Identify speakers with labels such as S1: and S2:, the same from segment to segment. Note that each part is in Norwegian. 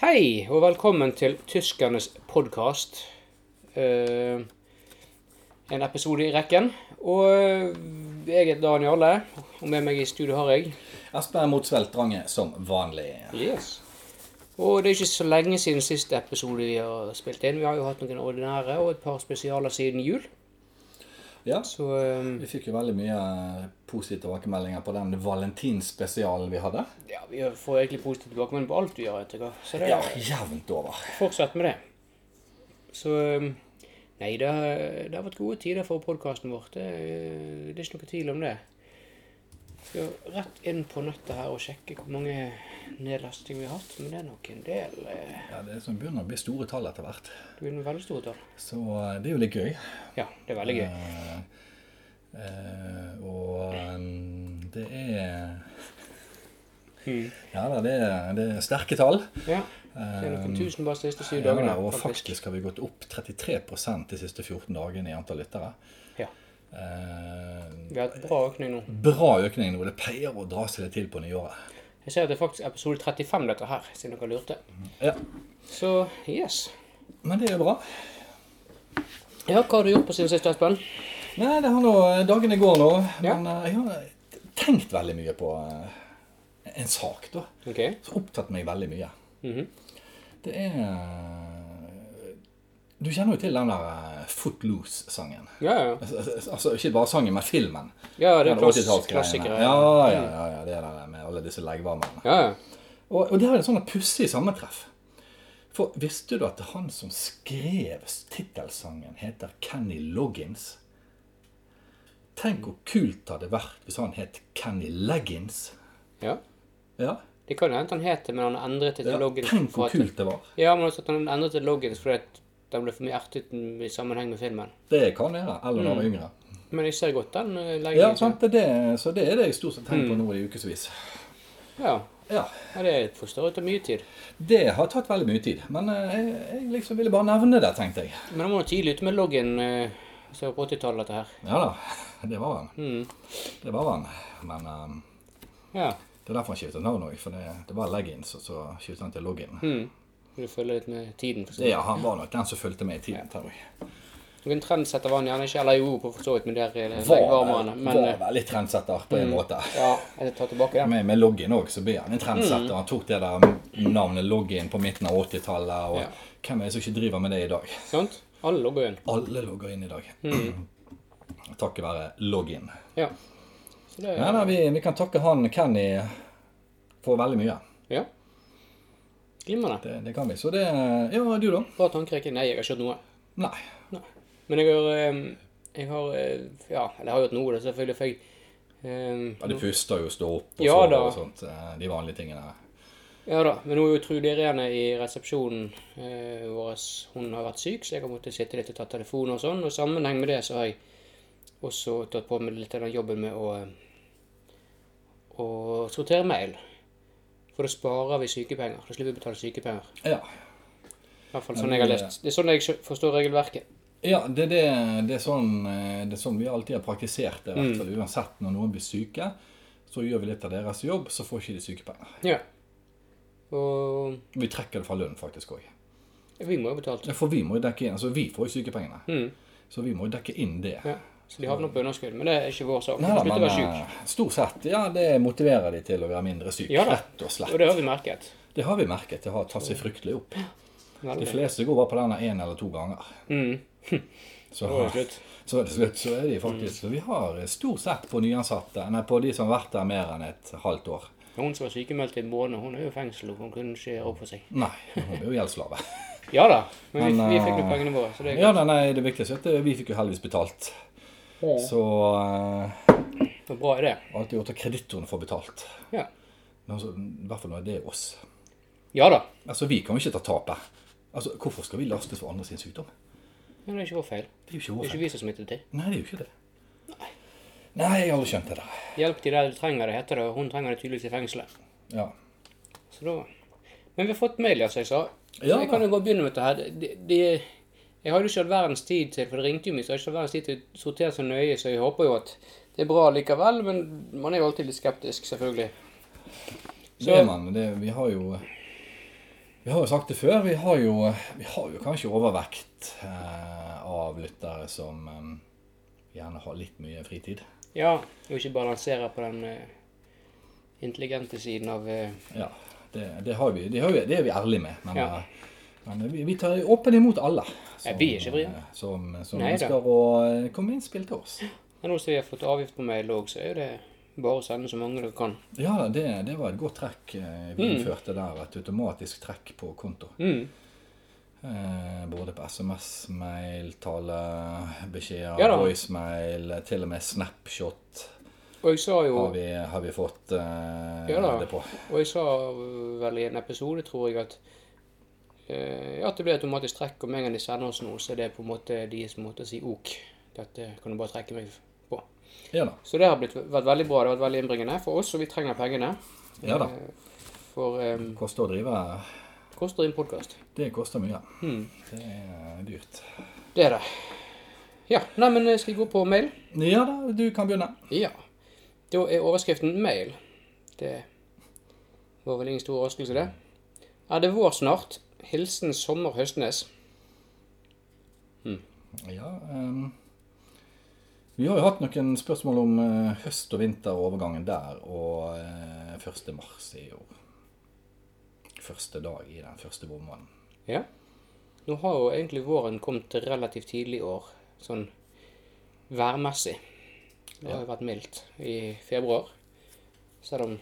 S1: Hei, og velkommen til Tyskernes podkast. Eh, en episode i rekken. Og eh, jeg heter Dan Jarle, og med meg i studio har jeg
S2: Asperger mot Sveltrange som vanlig.
S1: Yes. Og det er ikke så lenge siden siste episode vi har spilt inn. Vi har jo hatt noen ordinære og et par spesialer siden jul.
S2: Ja,
S1: Så eh,
S2: Vi fikk jo veldig mye positive tilbakemeldinger på den valentinspesialen vi hadde.
S1: ja, vi får egentlig positiv tilbakemelding på alt vi gjør. etter hva. Så det
S2: Ja,
S1: er
S2: jevnt over.
S1: fortsett med det. Så eh, Nei, det har, det har vært gode tider for podkasten vår. Det, er- det er ikke noe tvil om det. Skal rett inn på nettet her og sjekke hvor mange nedlastinger vi har hatt. Men det er nok en del. eh,
S2: Ja, Det er som begynner å bli store tall etter hvert.
S1: Det blir noen veldig store tall.
S2: Så eh, det er jo litt gøy.
S1: Ja, det er veldig gøy.
S2: Eh, eh, og eh, det er
S1: Mm.
S2: Ja da, det er, det er sterke tall.
S1: Ja. Det er noen tusen bare de siste syv
S2: Ja,
S1: dagene.
S2: da, og
S1: faktisk.
S2: faktisk har vi gått opp 33 de siste 14 dagene i antall lyttere.
S1: Ja.
S2: Eh,
S1: Vi har hatt bra økning nå.
S2: bra økning nå. Det pleier å dra seg litt til på nyåret.
S1: Jeg ser at det er faktisk episode 35 dette her, siden dere lurte.
S2: Ja,
S1: Så yes.
S2: men det er jo bra.
S1: Ja, hva har du gjort på siden sist, Espen?
S2: Nei, det har nå Dagene går nå.
S1: Ja.
S2: Men eh, jeg har tenkt veldig mye på eh, en sak, da.
S1: Ok.
S2: Som opptatt meg veldig mye.
S1: Mhm.
S2: Det er eh, Du kjenner jo til den der eh, Footloose-sangen.
S1: Ja, ja.
S2: Altså, altså, ikke bare sangen, men filmen.
S1: Ja, det er
S2: Den
S1: klass
S2: 80-tallsgreiene.
S1: klassikere.
S2: Ja, ja, ja, ja, det der med alle disse leggvarmene.
S1: Ja, ja.
S2: Og, og det er sånn et sånt pussig sammentreff. For visste du at han som skrev tittelsangen, heter Kenny Loggins? Tenk hvor kult det hadde vært hvis han het Kenny Leggins.
S1: ja.
S2: Ja,
S1: Det kan jo hende han het det, men han endret det til
S2: ja.
S1: Loggins.
S2: Tenk
S1: for
S2: hvor
S1: at-
S2: kult det var.
S1: Ja, men også at han endret det til Loggins fordi at den ble for mye ertet i sammenheng med filmen.
S2: Det kan være. Eller da han var yngre.
S1: Men Mm. jeg Mm. ser godt den eh, leggen.
S2: Ja,
S1: liksom.
S2: sant? Det, er det- så det er det jeg stort sett tenker på nå i ukevis.
S1: Ja.
S2: Ja,
S1: ja, det forstår jeg tar mye tid.
S2: det har tatt veldig mye tid. Men eh, jeg, jeg liksom ville bare nevne det, tenkte jeg.
S1: Men han var jo tidlig ute med Login eh, så på 80-tallet, dette her.
S2: Ja da, det var han.
S1: Mm.
S2: Det var han. Men eh,
S1: Ja.
S2: Det er derfor han skiftet navn òg, for det, det var leggings, og så skiftet han til login.
S1: Mm. Du følger litt med tiden. forstår
S2: Det, ja, han var nok den som fulgte med i tiden. tror jeg.
S1: du. Noen trendsetter var han gjerne ikke, eller jo, på for så vidt, men der er det
S2: Var,
S1: leggvarmerne. Men
S2: var
S1: eh, mm.
S2: veldig trendsetter på en måte.
S1: ja, jeg tar tilbake den.
S2: Med, med login òg, så ble han en
S1: Mm.
S2: trendsetter. Han tok det der navnet login på midten av 80-tallet, og
S1: Ja.
S2: hvem er det som ikke driver med det i dag?
S1: Sant? Alle logger jo inn.
S2: Alle logger inn i dag.
S1: Mm.
S2: Takket være login.
S1: Ja. Så det
S2: Nei, nei, vi, vi kan takke han Kenny for veldig mye.
S1: Ja. Glimrende.
S2: Det, det kan vi. Så det Ja, du, da?
S1: Bra tankerekke. Nei, jeg har ikke hørt noe.
S2: Nei.
S1: Men jeg har ehm, Jeg har eh, Ja, eller jeg har gjort noe, da, selvfølgelig. For jeg ehm,
S2: Ja, de puster jo, står opp og
S1: Ja,
S2: sover
S1: da.
S2: og sånt. eh, De vanlige tingene.
S1: Ja da. Men nå er jo Trude Irene i resepsjonen eh, vår. Hun har vært syk, så jeg har måttet sitte litt og ta telefon og sånn. Og i sammenheng med det så har jeg også tatt på meg litt av den jobben med å eh, å sortere mail. For da sparer vi sykepenger. Da slipper vi å betale sykepenger.
S2: Ja.
S1: I hvert fall sånn jeg har lest. Det er sånn jeg skjø- forstår regelverket.
S2: ja det, er det, det, er sånn, eh, det er sånn vi alltid har praktisert det. i
S1: Mm.
S2: hvert fall. Uansett når noen blir syke, så gjør vi litt av deres jobb, så får ikke de sykepenger.
S1: Ja. Og
S2: Vi trekker det fra lønn faktisk òg.
S1: vi må jo betale.
S2: For vi må jo dekke inn, altså vi får jo sykepengene.
S1: Mm.
S2: Så vi må jo dekke inn det.
S1: Ja, så de havner på underskudd, men det er ikke vår sak.
S2: Nei,
S1: Slutt
S2: da,
S1: å
S2: men
S1: være syk.
S2: eh, stort sett, ja, det motiverer de til å være mindre syk,
S1: Ja da.
S2: rett og slett.
S1: Og det har vi merket.
S2: Det har vi merket, det har tatt seg fryktelig opp. De
S1: Veldig.
S2: fleste går bare på denne én eller to ganger.
S1: Mm.
S2: Så,
S1: Nå er det slutt.
S2: Så er det slutt, så er de faktisk Så vi har stort sett på nyansatte Nei, på de som har vært der mer enn et halvt år.
S1: Men Hun som var sykemeldt i en måned, hun er jo i fengsel, og hun kunne ikke gjøre opp for seg.
S2: Nei, hun er jo gjeldsslave.
S1: Ja da, men vi,
S2: Men,
S1: vi
S2: eh,
S1: fikk jo pengene våre, så det er
S2: Ja, nei, nei, det viktigste er at eh, vi fikk jo heldigvis betalt. Så eh,
S1: det er bra i det.
S2: alltid gjort at kreditoren får betalt.
S1: Ja.
S2: Men altså, I hvert fall når det er oss.
S1: ja da,
S2: Altså, vi kan jo ikke ta tapet. Altså, hvorfor skal vi lastes for andre sin sykdom?
S1: men det er ikke vår feil.
S2: Det er jo ikke
S1: Det
S2: vår
S1: er ikke
S2: feil.
S1: vi som smittet til.
S2: Nei, det er jo ikke det. Nei, jeg har aldri skjønt det der.
S1: Hjelp de der de trenger det, heter det, og hun trenger det tydeligvis i fengselet.
S2: Ja.
S1: Så da... Men vi har fått mail, ja, som jeg sa. Så
S2: Ja
S1: jeg
S2: da.
S1: kan jo bare begynne med dette her. De, de, jeg hadde jo ikke hatt verdens tid til, for det ringte jo mye, så jeg har ikke hatt verdens tid til å sortere så nøye, så jeg håper jo at det er bra likevel, men man er jo alltid litt skeptisk, selvfølgelig.
S2: Det er man. Det, vi har jo Vi har jo sagt det før, vi har jo, vi har jo kanskje overvekt eh, av lyttere som eh, gjerne har litt mye fritid.
S1: Ja, og ikke balansere på den eh, intelligente siden av eh,
S2: Ja, det, det, har vi, det, har vi, det er vi ærlige med. Men,
S1: Ja.
S2: eh, men vi, vi tar åpen imot alle
S1: Ja, vi er ikke vrie.
S2: eh, som, som
S1: Neida.
S2: ønsker å eh, komme med innspill til oss.
S1: Men nå som vi har fått avgift på mail òg, så er jo det bare å sende så mange dere kan.
S2: Ja, da, det, det var et godt trekk eh, vi innførte der. Et automatisk trekk på konto.
S1: Mm.
S2: Eh, både på SMS, mail, tale, beskjeder,
S1: Ja da.
S2: voicemail, eh, til og med Snapshot
S1: Og jeg sa jo
S2: har vi, har vi fått eh,
S1: Ja da.
S2: det på.
S1: Og jeg sa vel i en episode, tror jeg, at eh, at det blir automatisk trekk. Og med en gang de sender oss noe, så er det på en måte deres måte å si OK. Dette kan du bare trekke meg på.
S2: Ja da.
S1: Så det har blitt, vært veldig bra. Det har vært veldig innbringende for oss, og vi trenger pengene.
S2: Ja da.
S1: Eh, For um,
S2: Koster å drive.
S1: koster en podkast.
S2: Det koster mye.
S1: Mm.
S2: Det er dyrt.
S1: Det er det. Ja. Nei, men eh, skal vi gå på mail?
S2: Ja da, du kan begynne.
S1: Ja. Da er overskriften mail. Det var vel ingen stor overraskelse, det. Er det vår snart? Hilsen Sommer Høstnes.
S2: Ja, ehm, vi har jo hatt noen spørsmål om eh, høst og vinter og overgangen der, og eh, 1. mars er jo første dag i den første vårmåneden.
S1: Ja. Nå har jo egentlig våren kommet relativt tidlig i år, sånn værmessig. Det har jo vært mildt i februar. Selv om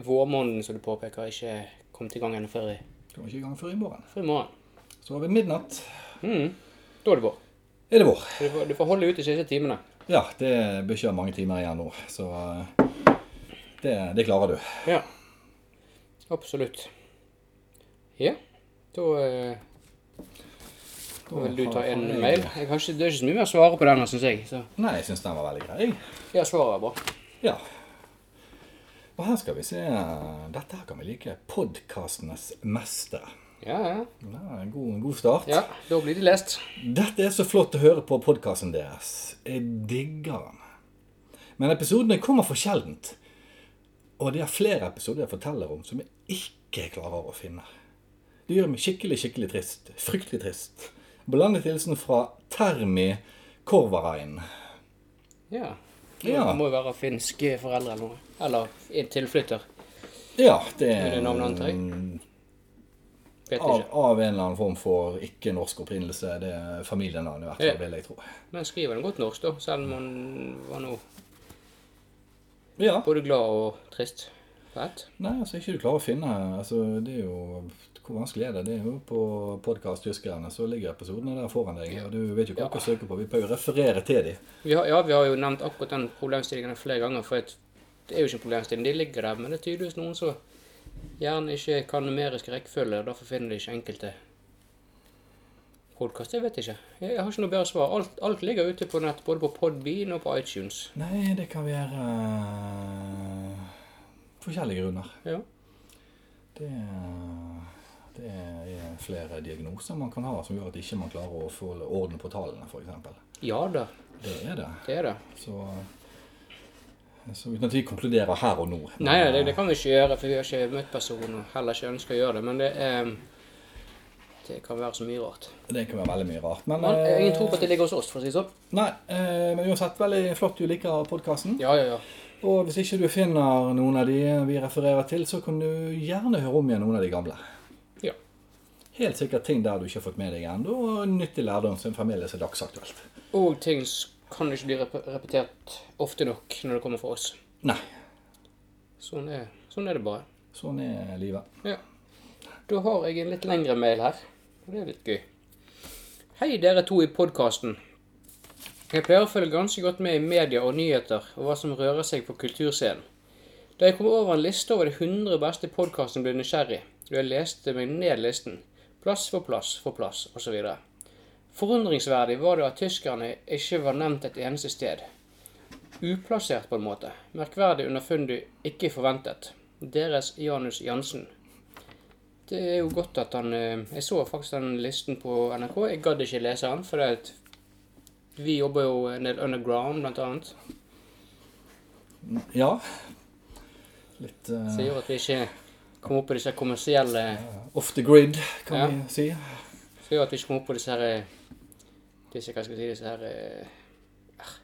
S1: vårmåneden, som du påpeker, ikke kom til gang ennå før i,
S2: Kommer ikke i gang før i morgen.
S1: før i morgen.
S2: Så ved midnatt
S1: Mm. Da er det vår.
S2: er det vår.
S1: Så du får, du får holde ut de siste timene.
S2: Ja, det bør ikke ha mange timer igjen nå, så eh, det, det klarer du.
S1: Ja. Absolutt. Ja. Da eh, da vil du ta
S2: har-
S1: en
S2: har jeg-
S1: mail. Jeg har ikke, det er ikke så mye mer å svare på denne, syns jeg. Så
S2: Nei, jeg syns den var veldig grei.
S1: ja, svaret er bra.
S2: Ja. Og her skal vi se Dette her kan vi like. 'Podkastenes mestere'.
S1: Ja, ja.
S2: Ja, en god, en god start.
S1: ja. Da blir de lest.
S2: Dette er så flott å høre på podkasten deres. Jeg digger den. Men episodene kommer for sjeldent. Og det er flere episoder jeg forteller om som jeg ikke klarer å finne. Det gjør meg skikkelig, skikkelig trist. Fryktelig trist. Blandet hilsen fra Termi Korvarain.
S1: Ja.
S2: Ja.
S1: Det må jo være finske foreldre eller noe. Eller en tilflytter.
S2: Ja, det
S1: Er
S2: er
S1: det navnet han Vet
S2: Mm. av,
S1: ikke.
S2: av en eller annen form for ikke-norsk opprinnelse. Det er familienavnet, i hvert
S1: Ja.
S2: fall, vil jeg tro.
S1: Men skriver han godt norsk, da. Selv om han var nå
S2: Ja.
S1: både glad og trist. Fett.
S2: Nei, altså ikke du klarer å finne altså, det er jo, Hvor vanskelig er det? Det er jo på podkast Tyskerne, så ligger episodene der foran deg. Og du vet jo hva du kan søke på. Vi pleier å referere til dem.
S1: Vi har, ja, vi har jo nevnt akkurat den problemstillingen flere ganger. For at det er jo ikke en problemstilling, de ligger der. Men det er tydeligvis noen som gjerne ikke kan numerisk rekkefølge. og Derfor finner de ikke enkelte podkast. Jeg vet ikke. Jeg jeg har ikke noe bedre svar. Alt, alt ligger ute på nett, både på Podbean og på iTunes.
S2: Nei, det kan være eh, forskjellige grunner.
S1: Ja.
S2: Det, eh, det er flere diagnoser man kan ha som gjør at ikke man klarer å få orden på tallene, f.eks.
S1: ja da,
S2: Det er det.
S1: det er det.
S2: Så, så uten at vi konkluderer her og nå.
S1: Nei, nei, det, det kan vi ikke gjøre, for vi har ikke møtt personen og heller ikke ønsker å gjøre det. Men det, er, det kan være så mye rart.
S2: det kan være veldig mye rart. Men,
S1: Men jeg har ingen
S2: eh,
S1: tro på at det ligger hos oss, for å si det sånn.
S2: Nei, eh, men uansett, veldig flott du liker podkasten.
S1: Ja, ja, ja.
S2: Og hvis ikke du finner noen av de vi refererer til, så kan du gjerne høre om igjen noen av de gamle.
S1: Ja.
S2: Helt sikkert ting der du ikke har fått med deg ennå, og nyttig lærdom som fremdeles er dagsaktuelt.
S1: Og ting s- kan ikke bli rep repetert ofte nok når det kommer fra oss.
S2: Nei,
S1: Sånn er, sånn er det bare.
S2: sånn er livet.
S1: Ja. Da har jeg en litt lengre mail her. og Det er litt gøy. Hei, dere to i podkasten. Jeg pleier å følge ganske godt med i media og nyheter og hva som rører seg på kulturscenen. Da jeg kom over en liste over de 100 beste podkastene, ble jeg nysgjerrig. Og jeg leste meg ned listen. Plass for plass for plass, osv. Forundringsverdig var det at tyskerne ikke var nevnt et eneste sted. Uplassert, på en måte. Merkverdig underfundig, ikke forventet. Deres Janus Jansen. Det er jo godt at han eh, Jeg så faktisk den listen på NRK. Jeg gadd ikke lese den, for det er et- vi jobber jo en del underground, blant annet.
S2: Ja. eh, Litt eh,
S1: Som gjør at vi ikke Komme opp på disse kommersielle
S2: Off the grid, kan
S1: Ja.
S2: vi si.
S1: Skal gjøre at vi ikke kommer opp på disse her eh, Disse, hva skal jeg si, disse her eh, ah,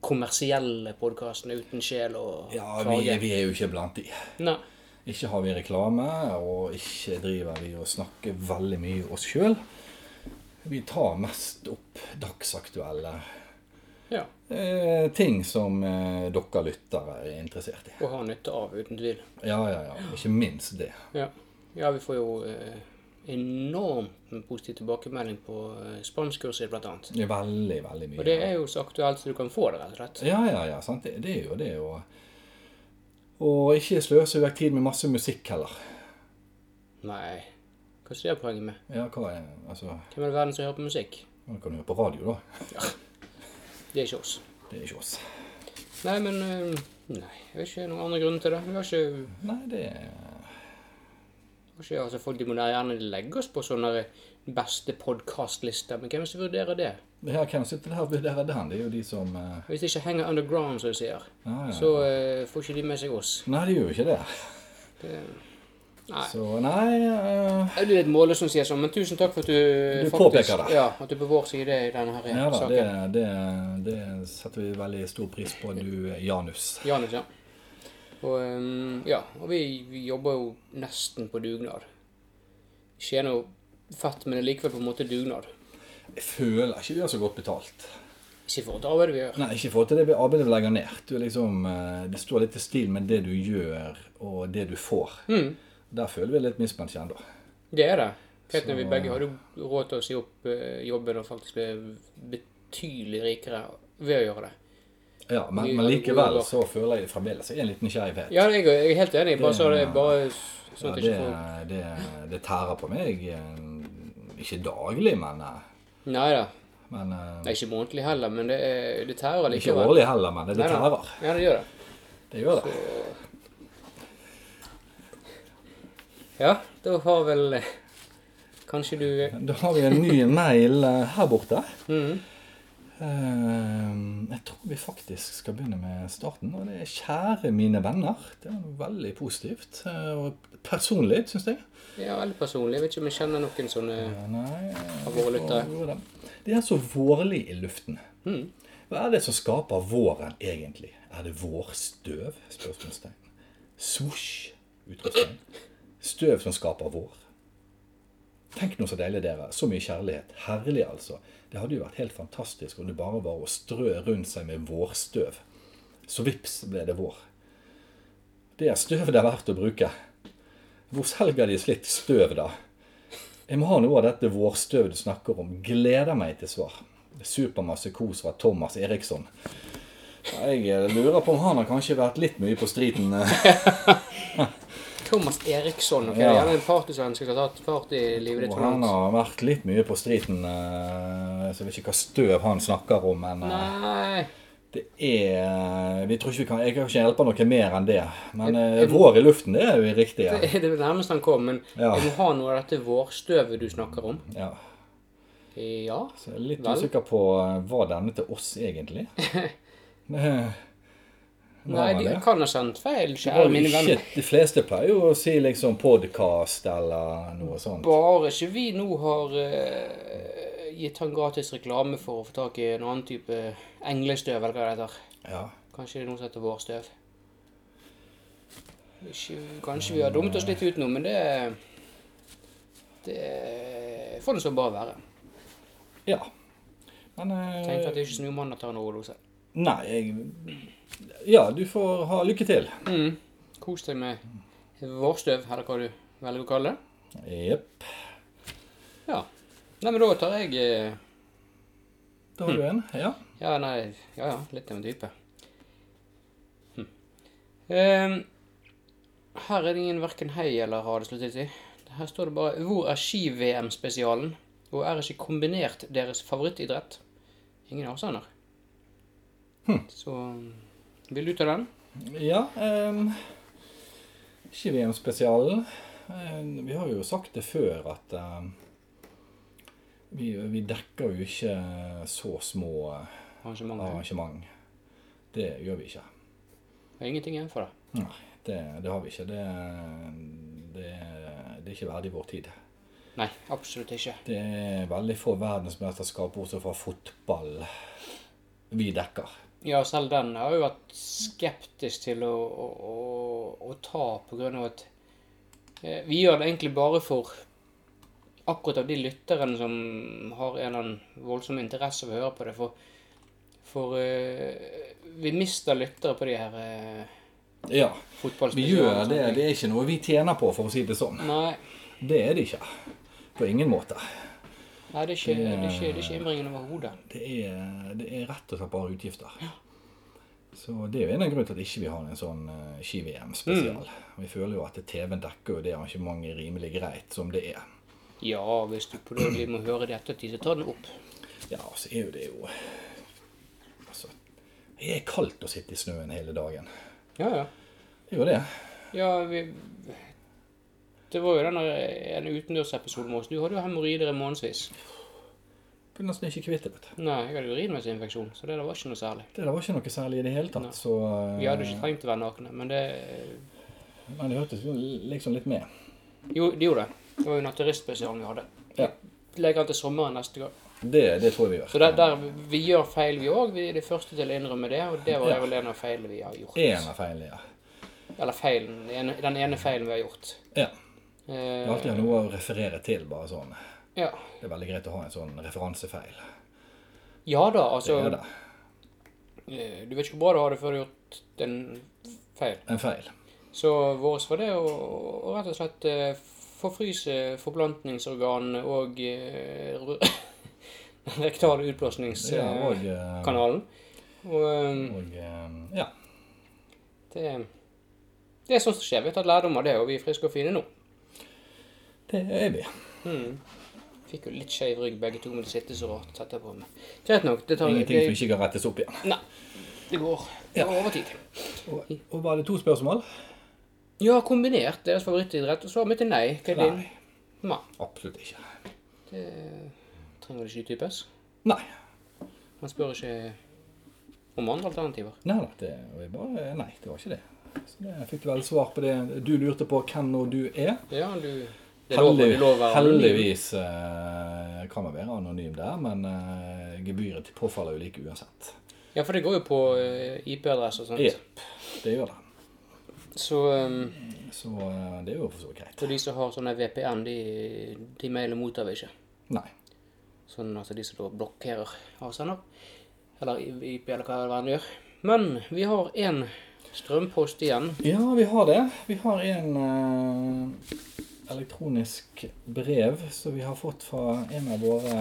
S1: kommersielle podkastene uten sjel og
S2: Ja, vi, vi er jo ikke blant de.
S1: Nei.
S2: Ikke har vi reklame, og ikke driver vi og snakker veldig mye oss sjøl. Vi tar mest opp dagsaktuelle
S1: Ja.
S2: eh, ting som eh, dere lyttere er interessert i.
S1: Og har nytte av, uten tvil.
S2: Ja, ja, ja. Ikke minst det.
S1: Ja, ja vi får jo eh, enormt med positiv tilbakemelding på eh, spanskkurset, blant annet.
S2: Veldig, veldig mye.
S1: Og det er jo så aktuelt som du kan få det, rett og slett.
S2: Ja, ja, ja. Sant? Det, det er jo det. Og, og ikke sløse vekk tid med masse musikk heller.
S1: Nei, hva er det poenget med?
S2: Ja, hva er Altså,
S1: Hvem er det i verden som hører på musikk?
S2: man kan jo høre på radio, da.
S1: Det er ikke oss.
S2: Det er ikke oss.
S1: Nei, men eh, Nei, jeg vet ikke noen andre grunner til det. Vi har ikke
S2: Nei, det er
S1: Kanskje, Altså, folk de må da gjerne legge oss på sånne beste podkastlister, men hvem er det som vurderer det?
S2: Det her kan sitte der og vurdere den. Det er jo de som eh,
S1: Hvis det ikke henger underground, som de sier,
S2: Ah, ja, ja.
S1: så eh, får ikke de med seg oss.
S2: Nei, det gjør jo ikke det.
S1: Det, nei.
S2: Så nei eh,
S1: Jeg blir litt målløs når du sier sånn, men tusen takk for at du,
S2: Du
S1: faktisk-
S2: påpeker det.
S1: Ja, at du er på vår side i denne her
S2: Ja da,
S1: saken.
S2: det, det, det setter vi veldig stor pris på, du Janus.
S1: Janus, ja. Og, ehm, ja, og vi, vi jobber jo nesten på dugnad. Tjener jo fett, men det er likevel på en måte dugnad.
S2: Jeg føler ikke vi har så godt betalt.
S1: Ikke for det arbeidet vi gjør.
S2: Nei, ikke i forhold til det vi- arbeidet vi legger ned. Du er liksom, eh, det står litt i stil med det du gjør, og det du får.
S1: Mm,
S2: Der føler vi litt mismatch ennå.
S1: det er det. Helt
S2: Så-
S1: når vi begge hadde jo råd til å si opp eh, jobben og faktisk bli betydelig rikere ved å gjøre det.
S2: Ja, men,
S1: Vi
S2: men
S1: hadde
S2: likevel
S1: gode
S2: så føler jeg fremdeles jeg er en liten nysgjerrighet.
S1: Ja, jeg, jeg er helt enig. Bare så det
S2: Det-
S1: bare
S2: Ja,
S1: sånn at jeg
S2: det,
S1: ikke får
S2: det, det tærer på meg. eh, Ikke daglig, men, eh,
S1: Nei da.
S2: men eh,
S1: Nei, ikke månedlig heller, men det, er, det tærer
S2: Ikke
S1: likevel.
S2: årlig heller, men det, det
S1: Nei, nei.
S2: tærer.
S1: Ja, det gjør det.
S2: Det gjør det.
S1: Ja, da har vel eh, Kanskje du
S2: Da har vi en ny mail eh, her borte.
S1: Mhm.
S2: Eh, Jeg tror vi faktisk skal begynne med starten. Og det er 'Kjære mine venner'. Det er noe veldig positivt. eh, Og personlig, syns jeg.
S1: Ja, veldig personlig. Jeg vet ikke om jeg kjenner noen sånne
S2: Ja, Nei eh,
S1: Av våre lyttere. Hmm.
S2: jo da. De er så vårlig i luften. Hva er det som skaper våren, egentlig? Er det vårstøv? Spørsmålstegn. Svosj! Utropstegn. Støv som skaper vår. Tenk nå så deilig dere. Så mye kjærlighet. Herlig, altså. Det hadde jo vært helt fantastisk om det bare var å strø rundt seg med vårstøv. Så vips ble det vår. Det er støv det er verdt å bruke. Hvor selger de slitt støv, da? Jeg må ha noe av dette vårstøvet du snakker om. Gleder meg til svar. Supermasse kos fra Thomas Eriksson. Ja, Jeg eh, lurer på om han har kanskje vært litt mye på striden. eh.
S1: Thomas Eriksson. ok? Det
S2: Ja.
S1: er gjerne en partysvenske som har tatt part i livet ditt
S2: Og
S1: så
S2: han
S1: langt.
S2: har vært litt mye på striden, eh, så jeg vet ikke hva støv han snakker om. Men eh,
S1: Nei
S2: det er eh, vi tror ikke vi kan, Jeg kan ikke hjelpe noe mer enn det. Men eh,
S1: Jeg- jeg-
S2: vår i luften, det er jo riktig. Ja.
S1: Det er det nærmeste han kom, men
S2: Ja.
S1: jeg må ha noe av dette vårstøvet du snakker om.
S2: Ja.
S1: Ja.
S2: Så jeg er litt
S1: Vel.
S2: usikker på eh, hva denne til oss egentlig. Eh,
S1: Nei,
S2: var
S1: de
S2: det.
S1: kan ha sendt feil,
S2: Ja,
S1: kjære mine venner.
S2: shit, de fleste pleier jo å si liksom podkast eller noe sånt.
S1: Bare ikke vi nå har eh, gitt han gratis reklame for å få tak i en annen type englestøv, eller hva det heter.
S2: Ja.
S1: Kanskje det er noe som heter vårstøv. Ikke, kanskje vi har dummet oss litt ut nå, men det Det får det så bare være.
S2: ja. Men eh,
S1: Tenk at det er ikke Snømannen tar en overdose.
S2: Nei, jeg Ja, du får ha lykke til.
S1: Mm. Kos deg med vårstøv, eller hva du velger å kalle det.
S2: Jepp.
S1: Ja. Nei, men da tar jeg eh,
S2: Da har du en. Ja.
S1: Ja, nei Ja, ja. Litt av en type. Hm. Ehm, her er det ingen verken hei eller ha det sluttet i. Her står det bare 'Hvor er ski-VM-spesialen?' Og er ikke kombinert deres favorittidrett? Ingen avstander. Så Vil du ta den?
S2: Ja. em, ikke VM-spesialen. Eh, vi har jo sagt det før at em, vi, vi dekker jo ikke så små
S1: Arrangementet?
S2: arrangement. Det gjør vi ikke.
S1: Det er ingenting igjen for det.
S2: Nei, det, det har vi ikke. Det, Det, er- det er ikke verdig vår tid.
S1: Nei, absolutt ikke.
S2: Det er veldig få verdensmesterskap bortsett fra fotball vi dekker.
S1: Ja, selv den har jo vært skeptisk til å, å, å, å ta på grunn av at eh, vi gjør det egentlig bare for akkurat av de lytterne som har en eller annen voldsom interesse av å høre på det. For, for eh, vi mister lyttere på de her eh,
S2: Ja, vi gjør
S1: fotballspesialene.
S2: det. Det er ikke noe vi tjener på, for å si det sånn.
S1: Nei,
S2: Det er det ikke. På ingen måte.
S1: nei det, er ikke, det, er ikke, det er ikke innbringende overhodet.
S2: Det er, det er rett og slett bare utgifter. Så det er jo en av grunnene til at ikke vi ikke har en sånn eh, ski-VM-spesial. Vi føler jo at TV-en dekker jo det arrangementet rimelig greit som det er.
S1: Ja, hvis du plutselig må høre det i ettertid, så ta den opp.
S2: Ja, og så er jo det jo Altså, det er kaldt å sitte i snøen hele dagen.
S1: Ja, ja.
S2: Det er jo det.
S1: Ja, vi Det var jo den der- en utendørsepisode med oss. Du hadde jo hemoroider i månedsvis.
S2: Blir nesten ikke kvitt det, vet du.
S1: Nei, jeg hadde urinveisinfeksjon, så det der var ikke noe særlig.
S2: Det der var ikke noe særlig i det hele tatt,
S1: Nei.
S2: så eh,
S1: Vi hadde ikke trengt å være nakne, men det
S2: Men det hørtes jo liksom litt med.
S1: Jo, det gjorde det. Det var jo naturistspesialen vi hadde.
S2: Ja.
S1: Legger den til sommeren neste gang.
S2: Det, det tror jeg vi gjør.
S1: Så det, der, vi gjør feil, vi òg. Vi er de første til å innrømme det, og det var
S2: Ja.
S1: vel en av feilene vi har gjort.
S2: En av feilene, ja.
S1: Eller feilen. den ene- Den ene feilen vi har gjort.
S2: ja. Det er
S1: Eh,
S2: alltid noe å referere til, bare sånn.
S1: ja.
S2: Det er veldig greit å ha en sånn referansefeil.
S1: ja da,
S2: Det
S1: altså
S2: er det.
S1: eh, Du vet ikke hvor bra du har det før du har gjort en feil.
S2: En feil.
S1: Så vårt var det å, å rett og slett eh, forfryse forplantningsorganene og eh, ru- rektale
S2: Ja, og,
S1: utblåsningskanalen.
S2: eh,
S1: Og eh,
S2: og eh, ja.
S1: det, det er sånt som skjer. Vi har tatt lærdom av det, og vi er friske og fine nå.
S2: Det er vi.
S1: Mm. Fikk jo litt skeiv rygg begge to, men det sitter så rart tett på meg. Greit nok. Det tar
S2: Ingenting som
S1: det,
S2: ikke kan rettes opp igjen.
S1: Nei. Det går
S2: Ja.
S1: går over tid.
S2: Og, og var det to spørsmål?
S1: Ja, kombinert deres favorittidrett, og svaret mitt er nei. Hva er din?
S2: Nei.
S1: Nei.
S2: Absolutt ikke.
S1: Det trenger det ikke utdypes.
S2: Nei.
S1: Man spør ikke om andre alternativer.
S2: Nei da, det var bare Nei, det var ikke det. Så det jeg fikk vel svar på det du lurte på hvem og du er.
S1: Ja, du det lover,
S2: Heldig,
S1: det lover
S2: heldigvis eh, kan man være anonym der, men eh, gebyret til påfaller jo like uansett.
S1: Ja, for det går jo på eh, IP-adresse og sånt.
S2: Jepp. Det gjør det.
S1: Så eh,
S2: Så eh, det er jo for så vidt greit.
S1: for de som har sånne VPN, de, de mailer mottar vi ikke.
S2: Nei.
S1: Sånn altså de som da blokkerer avsender. Eller IP, eller hva det verden gjør. Men vi har én strømpost igjen.
S2: Ja, vi har det. Vi har en eh, elektronisk brev som vi har fått fra en av våre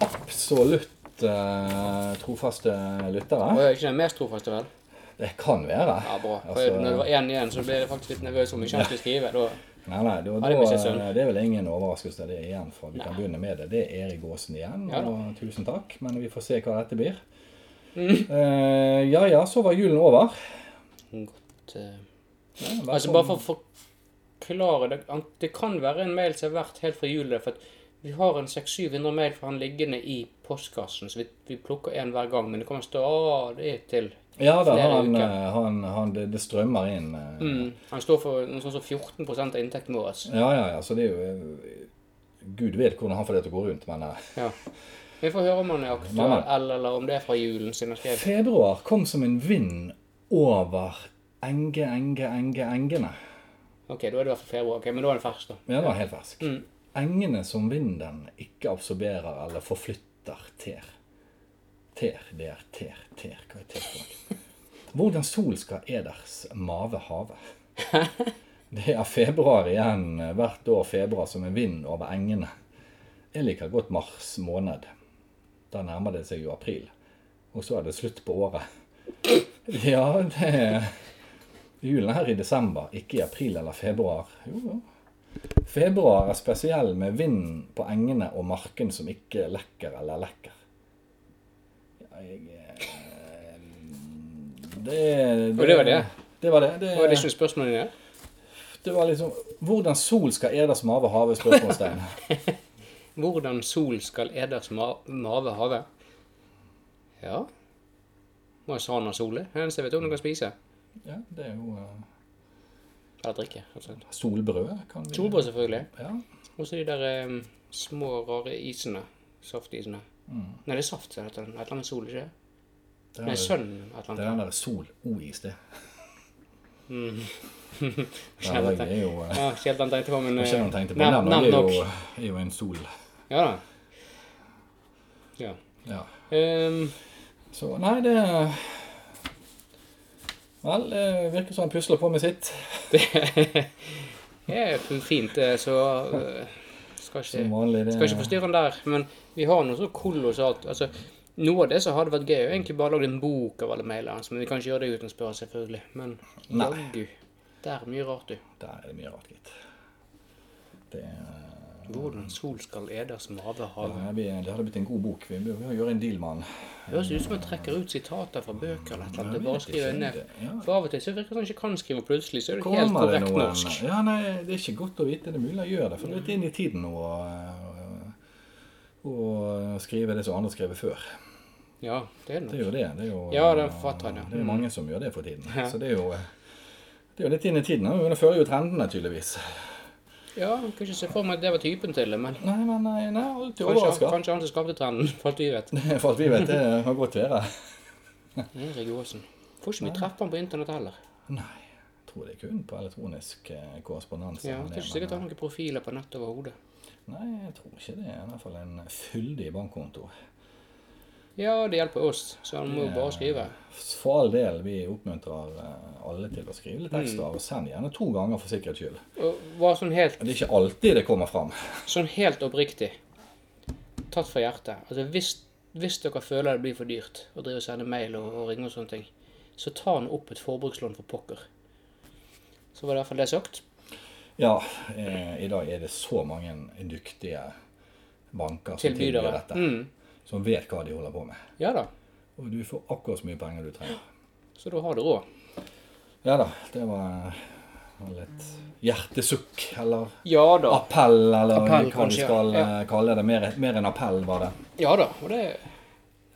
S2: absolutt eh, trofaste
S1: Og
S2: lyttere.
S1: jeg er ikke den mest trofaste, vel?
S2: Det kan være.
S1: Ja, bra. For
S2: Altså-
S1: når det var én igjen, så ble jeg faktisk litt nervøs om jeg ikke skulle skrive. Da,
S2: Nei, nei, da,
S1: Ja,
S2: da,
S1: det blir ikke
S2: det,
S1: sånn.
S2: er vel ingen overraskelse det er igjen, for vi kan begynne med det. Det er Erik Aasen igjen,
S1: Ja da.
S2: og tusen takk. Men vi får se hva dette blir.
S1: Mm.
S2: Eh, ja ja, så var julen over.
S1: godt... eh,
S2: Ja,
S1: Altså bare for å forklare det, han- det kan være en mail som har vært helt fra jula, for at vi har en 600-700 mail fra han liggende i postkassen, så vi, vi plukker en hver gang, men det kommer stadig til.
S2: ja da,
S1: flere
S2: han,
S1: uker.
S2: eh, han, han, det, det strømmer inn. eh.
S1: Mm. Han står for noe sånt som 14 av inntekten vår. altså.
S2: Ja ja ja, så det er jo eh, Gud vet hvordan han får det til å gå rundt, men eh,
S1: Ja. Vi får høre om han er aktuell,
S2: Nei, nei.
S1: eller, eller om det er fra julen sin han skrev.
S2: Februar kom som en vind over enge, enge, enge, engene.
S1: Ok, da er det i hvert fall februar, ok, men da er det fersk da.
S2: Ja, den var helt fersk.
S1: Mm.
S2: Engene som vinden ikke absorberer eller forflytter ter. Ter, der, ter, ter. Hva er ter for noe? Hvordan sol skal eders mave have? Det er februar igjen, hvert år februar som en vind over engene. Jeg liker godt mars måned. Da nærmer det seg jo april. Og så er det slutt på året. Ja, det er Julen her i desember, ikke i april eller februar. Jo, jo. Februar er spesiell med vinden på engene og marken som ikke lekker eller lekker. Ja, jeg eh, det,
S1: Og det var det?
S2: Det var det. det,
S1: Og er det ikke noe spørsmål i det?
S2: det var liksom Hvordan sol skal eders mave have? spørsmålstegn.
S1: Hvordan sol skal eders ma mave have? Ja. Må jeg savne solet? Det eneste jeg vet om du kan spise.
S2: Ja, det er jo eh,
S1: Eller drikke. Altså.
S2: Solbrød kan vi
S1: Solbrød, selvfølgelig.
S2: Ja.
S1: Og så de der eh, små, rare isene. Saftisene. Nei, det er saft, som heter den. Et eller annet sol, ikke det?
S2: Mm. Det er,
S1: Nei,
S2: det
S1: sønn, et eller
S2: er
S1: annet.
S2: den der Sol-O-is, det. Ja,
S1: Kjenner
S2: det
S1: til.
S2: er jo eh,
S1: Ja, ikke helt den tenkte på, men
S2: Hva
S1: eh,
S2: skjer når du tenker på
S1: navn-
S2: den?
S1: navn
S2: Det er
S1: nok.
S2: jo, er jo en sol.
S1: Ja da. Ja.
S2: Ja.
S1: Ehm,
S2: Så nei, det Vel, det virker som han pusler på med sitt.
S1: det er fint, det, så eh, skal ikke
S2: Som vanlig. Det,
S1: Skal ikke forstyrre han der, men vi har noe så kolossalt altså, Noe av det som hadde vært gøy, er jo egentlig bare lagd en bok av alle mailene hans, men vi kan ikke gjøre det uten å spørre, selvfølgelig. Men
S2: Nei.
S1: jaggu. Det er mye rart, du.
S2: Der er det mye rart, gitt. Det, er-
S1: Hvordan sol skal eders mage
S2: ja,
S1: hage.
S2: det blir- det hadde blitt en god bok. Vi bør gjøre en deal med han.
S1: Høres ut som han trekker ut sitater fra bøker eller et eller annet. Det er bare å
S2: Jeg vet
S1: skrive
S2: ikke,
S1: ned.
S2: det- ja.
S1: For av og til så virker det som han ikke kan skrive, og plutselig så er det helt
S2: Kommer det
S1: korrekt
S2: noen-
S1: norsk.
S2: Ja, nei, Det er ikke godt å vite. Det er mulig å gjøre det. For du er litt inn i tiden nå og, og skrive det som andre har skrevet før.
S1: Ja, det er
S2: Det
S1: det.
S2: er jo det. det er jo,
S1: Ja, det er forfatteren, ja. Mm.
S2: Det er jo mange som gjør det for tiden. Så det er jo, det er jo litt inn i tiden. og Det fører jo trendene, tydeligvis.
S1: Ja, jeg kan ikke se for meg at det var typen til det, men
S2: Nei, men nei, nei alltid
S1: kanskje,
S2: overraska.
S1: kanskje han som skapte trenden, for alt vi vet.
S2: For alt vi vet, det kan godt være.
S1: Erik Aasen. Får ikke mye treff på han på internett heller.
S2: Nei, jeg tror det er kun på elektronisk eh, korrespondanse.
S1: Ja,
S2: han
S1: det er
S2: er,
S1: ikke sikkert
S2: men,
S1: han har noen profiler på nettet overhodet.
S2: Nei, jeg tror ikke det. I hvert fall en fyldig bankkonto.
S1: Ja, det hjelper oss, så han må jo bare skrive.
S2: For all del, vi oppmuntrer eh, alle til å skrive litt ekstra,
S1: Mm.
S2: og send gjerne to ganger for sikkerhets skyld.
S1: Og var sånn helt,
S2: Det er ikke alltid det kommer fram.
S1: sånn helt oppriktig. Tatt fra hjertet. Altså, hvis, hvis dere føler det blir for dyrt å drive og sende mail og, og ringe og sånne ting, så ta han opp et forbrukslån for pokker. Så var det i hvert fall det sagt.
S2: Ja, eh, i dag er det så mange dyktige banker som tilbyr
S1: Tilbydere.
S2: dette,
S1: Mm.
S2: som vet hva de holder på med.
S1: Ja da.
S2: Og du får akkurat så mye penger du trenger.
S1: Så da har du råd.
S2: Ja da, det var var litt hjertesukk, eller
S1: Ja da.
S2: appell, eller
S1: Appell,
S2: hva du
S1: kanskje, ja.
S2: skal eh, kalle det. Mer, mer enn appell, var det.
S1: Ja da. Og det,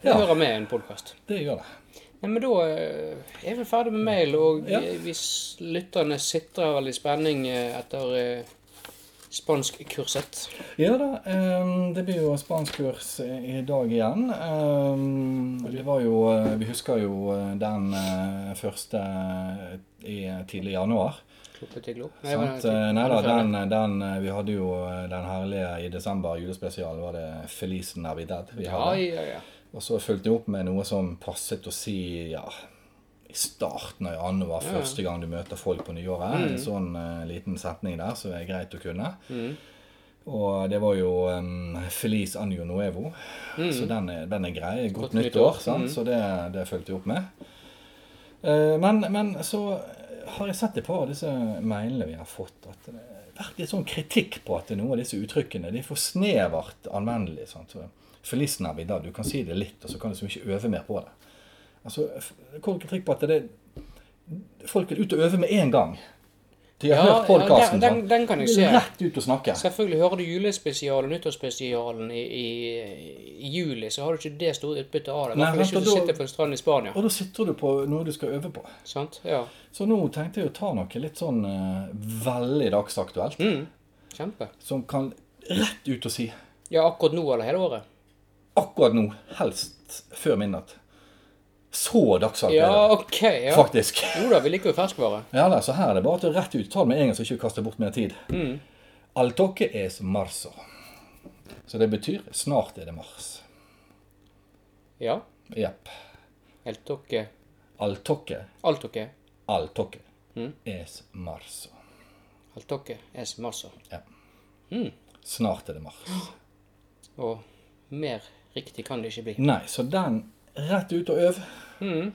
S1: det
S2: Ja.
S1: hører med i en podkast.
S2: Det gjør det.
S1: Nei, men da eh, er vi ferdig med mail, og
S2: Ja.
S1: eh, hvis lytterne sitrer vel i spenning eh, etter eh, spanskkurset
S2: Ja da, eh, det blir jo spanskkurs i dag igjen. Eh, Det var jo eh, Vi husker jo eh, den eh, første eh, i tidlig januar.
S1: Kloppe til glopp. Nei,
S2: Sant?
S1: det var-
S2: Eh, Nei da,
S1: det var-
S2: den, den eh, Vi hadde jo eh, den herlige i desember julespesial, var det Feliz Navidad vi
S1: Ja,
S2: hadde.
S1: ja, ja.
S2: Og så fulgte jeg opp med noe som passet å si ja, i starten av januar,
S1: Ja, Mm. ja.
S2: første gang du møter folk på nyåret. En sånn eh, liten setning der som er greit å kunne.
S1: Mm.
S2: Og det var jo um, Feliz Año Nuevo. Så den er, den er grei.
S1: Mm.
S2: Godt,
S1: Godt
S2: nytt
S1: nyttår.
S2: år, sant?
S1: Mm.
S2: så det, det fulgte jeg opp med. Eh, men, men så har jeg sett et par av disse mailene vi har fått, at det har vært litt sånn kritikk på at noen av disse uttrykkene de er for snevert anvendelige. Sant? Så, Feliz Navidad, du kan si det litt, og så kan du liksom ikke øve mer på det. Altså, f- det kommer kritikk på at det, folk vil ut og øve med en gang. De har
S1: Ja, ja,
S2: hørt podkasten.
S1: den- den- den kan jeg se.
S2: Rett ut og snakke.
S1: Selvfølgelig hører du julespesialen og nyttårsspesialen i, i, i juli, så har du ikke det store utbyttet av det. I
S2: Nei,
S1: hvert fall ikke hvis
S2: vent,
S1: du
S2: og da-
S1: sitter på en strand i Spania.
S2: Og da sitter du på noe du skal øve på.
S1: Sant? Ja.
S2: Så nå tenkte jeg å ta noe litt sånn eh, veldig dagsaktuelt,
S1: Mm. Kjempe.
S2: som kan rett ut og si
S1: Ja, akkurat nå eller hele året?
S2: akkurat nå, helst før midnatt. Så dagsaktuelt er
S1: Ja,
S2: det,
S1: OK. ja.
S2: faktisk.
S1: Jo da, vi liker jo ferskvare.
S2: Ja da, så her er det bare til rett ut. Ta det med en gang, så ikke vi kaster bort mer tid.
S1: Mm.
S2: Al toque es marzo. Så det betyr snart er det mars.
S1: Ja.
S2: Jepp.
S1: Helt ok.
S2: Al toque,
S1: Alt ok.
S2: al toque
S1: Mm.
S2: es marzo.
S1: Alt ok. Es masse.
S2: Ja.
S1: Mm.
S2: Snart er det mars.
S1: Og mer riktig kan det ikke bli.
S2: Nei, så den rett ut og øv.
S1: Mm.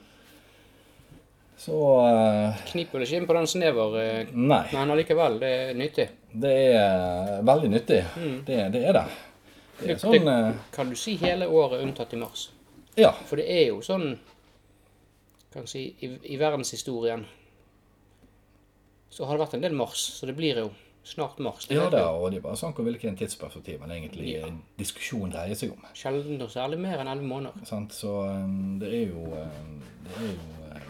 S2: Så eh,
S1: Kniper det ikke inn på den snever, eh,
S2: Nei.
S1: men allikevel, det er nyttig.
S2: Det er eh, veldig nyttig.
S1: Mm.
S2: Det, det er det. Det er
S1: Det-
S2: sånn eh,
S1: Kan du si hele året unntatt i mars?
S2: Ja.
S1: For det er jo sånn kan si, i, i verdenshistorien så har det vært en del mars, så det blir jo snart mars. Det
S2: Ja
S1: vet
S2: da,
S1: du.
S2: og det er bare sånn hvor hvilken tidsperspektiv man egentlig
S1: Ja.
S2: diskusjonen dreier seg om.
S1: Sjelden og særlig mer enn elleve måneder.
S2: Sant? Så eh, det er jo eh, Det er jo eh,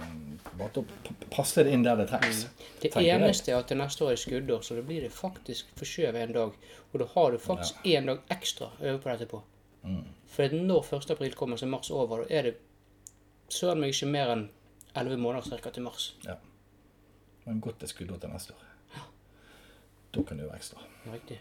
S2: bare til å p- passe det inn der det trengs.
S1: Det
S2: tenker jeg.
S1: eneste er at det neste år er skuddår, så da blir det faktisk forskjøvet en dag. Og da har du faktisk én dag ekstra å øve på dette på.
S2: Mm.
S1: For at når 1. april kommer, så er mars over. Da er det søren meg ikke mer enn 11 måneder cirka til mars.
S2: Ja. Men godt det skulle til neste år. Da kan det jo være ekstra.
S1: Riktig.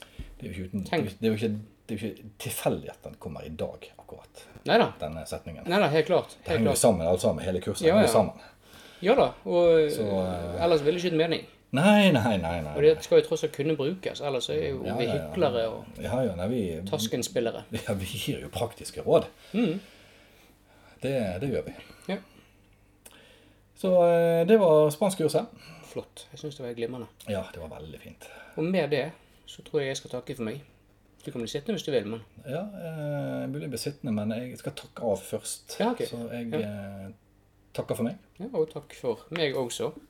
S2: Det er jo ikke, uten, det er
S1: Tenk.
S2: jo- det er jo ikke, det er jo ikke tilfeldig at den kommer i dag, akkurat.
S1: Nei da.
S2: Denne setningen.
S1: Nei da, helt klart.
S2: Det
S1: Helt
S2: henger jo
S1: klart.
S2: sammen, alt sammen. Hele kurset
S1: Ja,
S2: henger
S1: ja.
S2: jo sammen.
S1: Ja da. Og
S2: Så, eh,
S1: ellers ville det ikke gitt mening.
S2: Nei, nei, nei. nei.
S1: Og det skal jo tross alt kunne brukes. Ellers så er jo vi hyklere og
S2: Ja, ja, nei, vi,
S1: taskenspillere.
S2: ja, vi gir jo praktiske råd.
S1: Mm.
S2: Det, det gjør vi.
S1: Ja.
S2: Så eh, det var spanskkurset.
S1: Flott. Jeg syns det var helt glimrende.
S2: Ja, det var veldig fint.
S1: Og med det så tror jeg jeg skal takke for meg. Du kan bli sittende hvis du vil, men
S2: Ja, eh, mulig jeg blir sittende, men jeg skal takke av først.
S1: Ja, ok.
S2: Så jeg eh, takker for meg.
S1: ja, Og takk for meg også.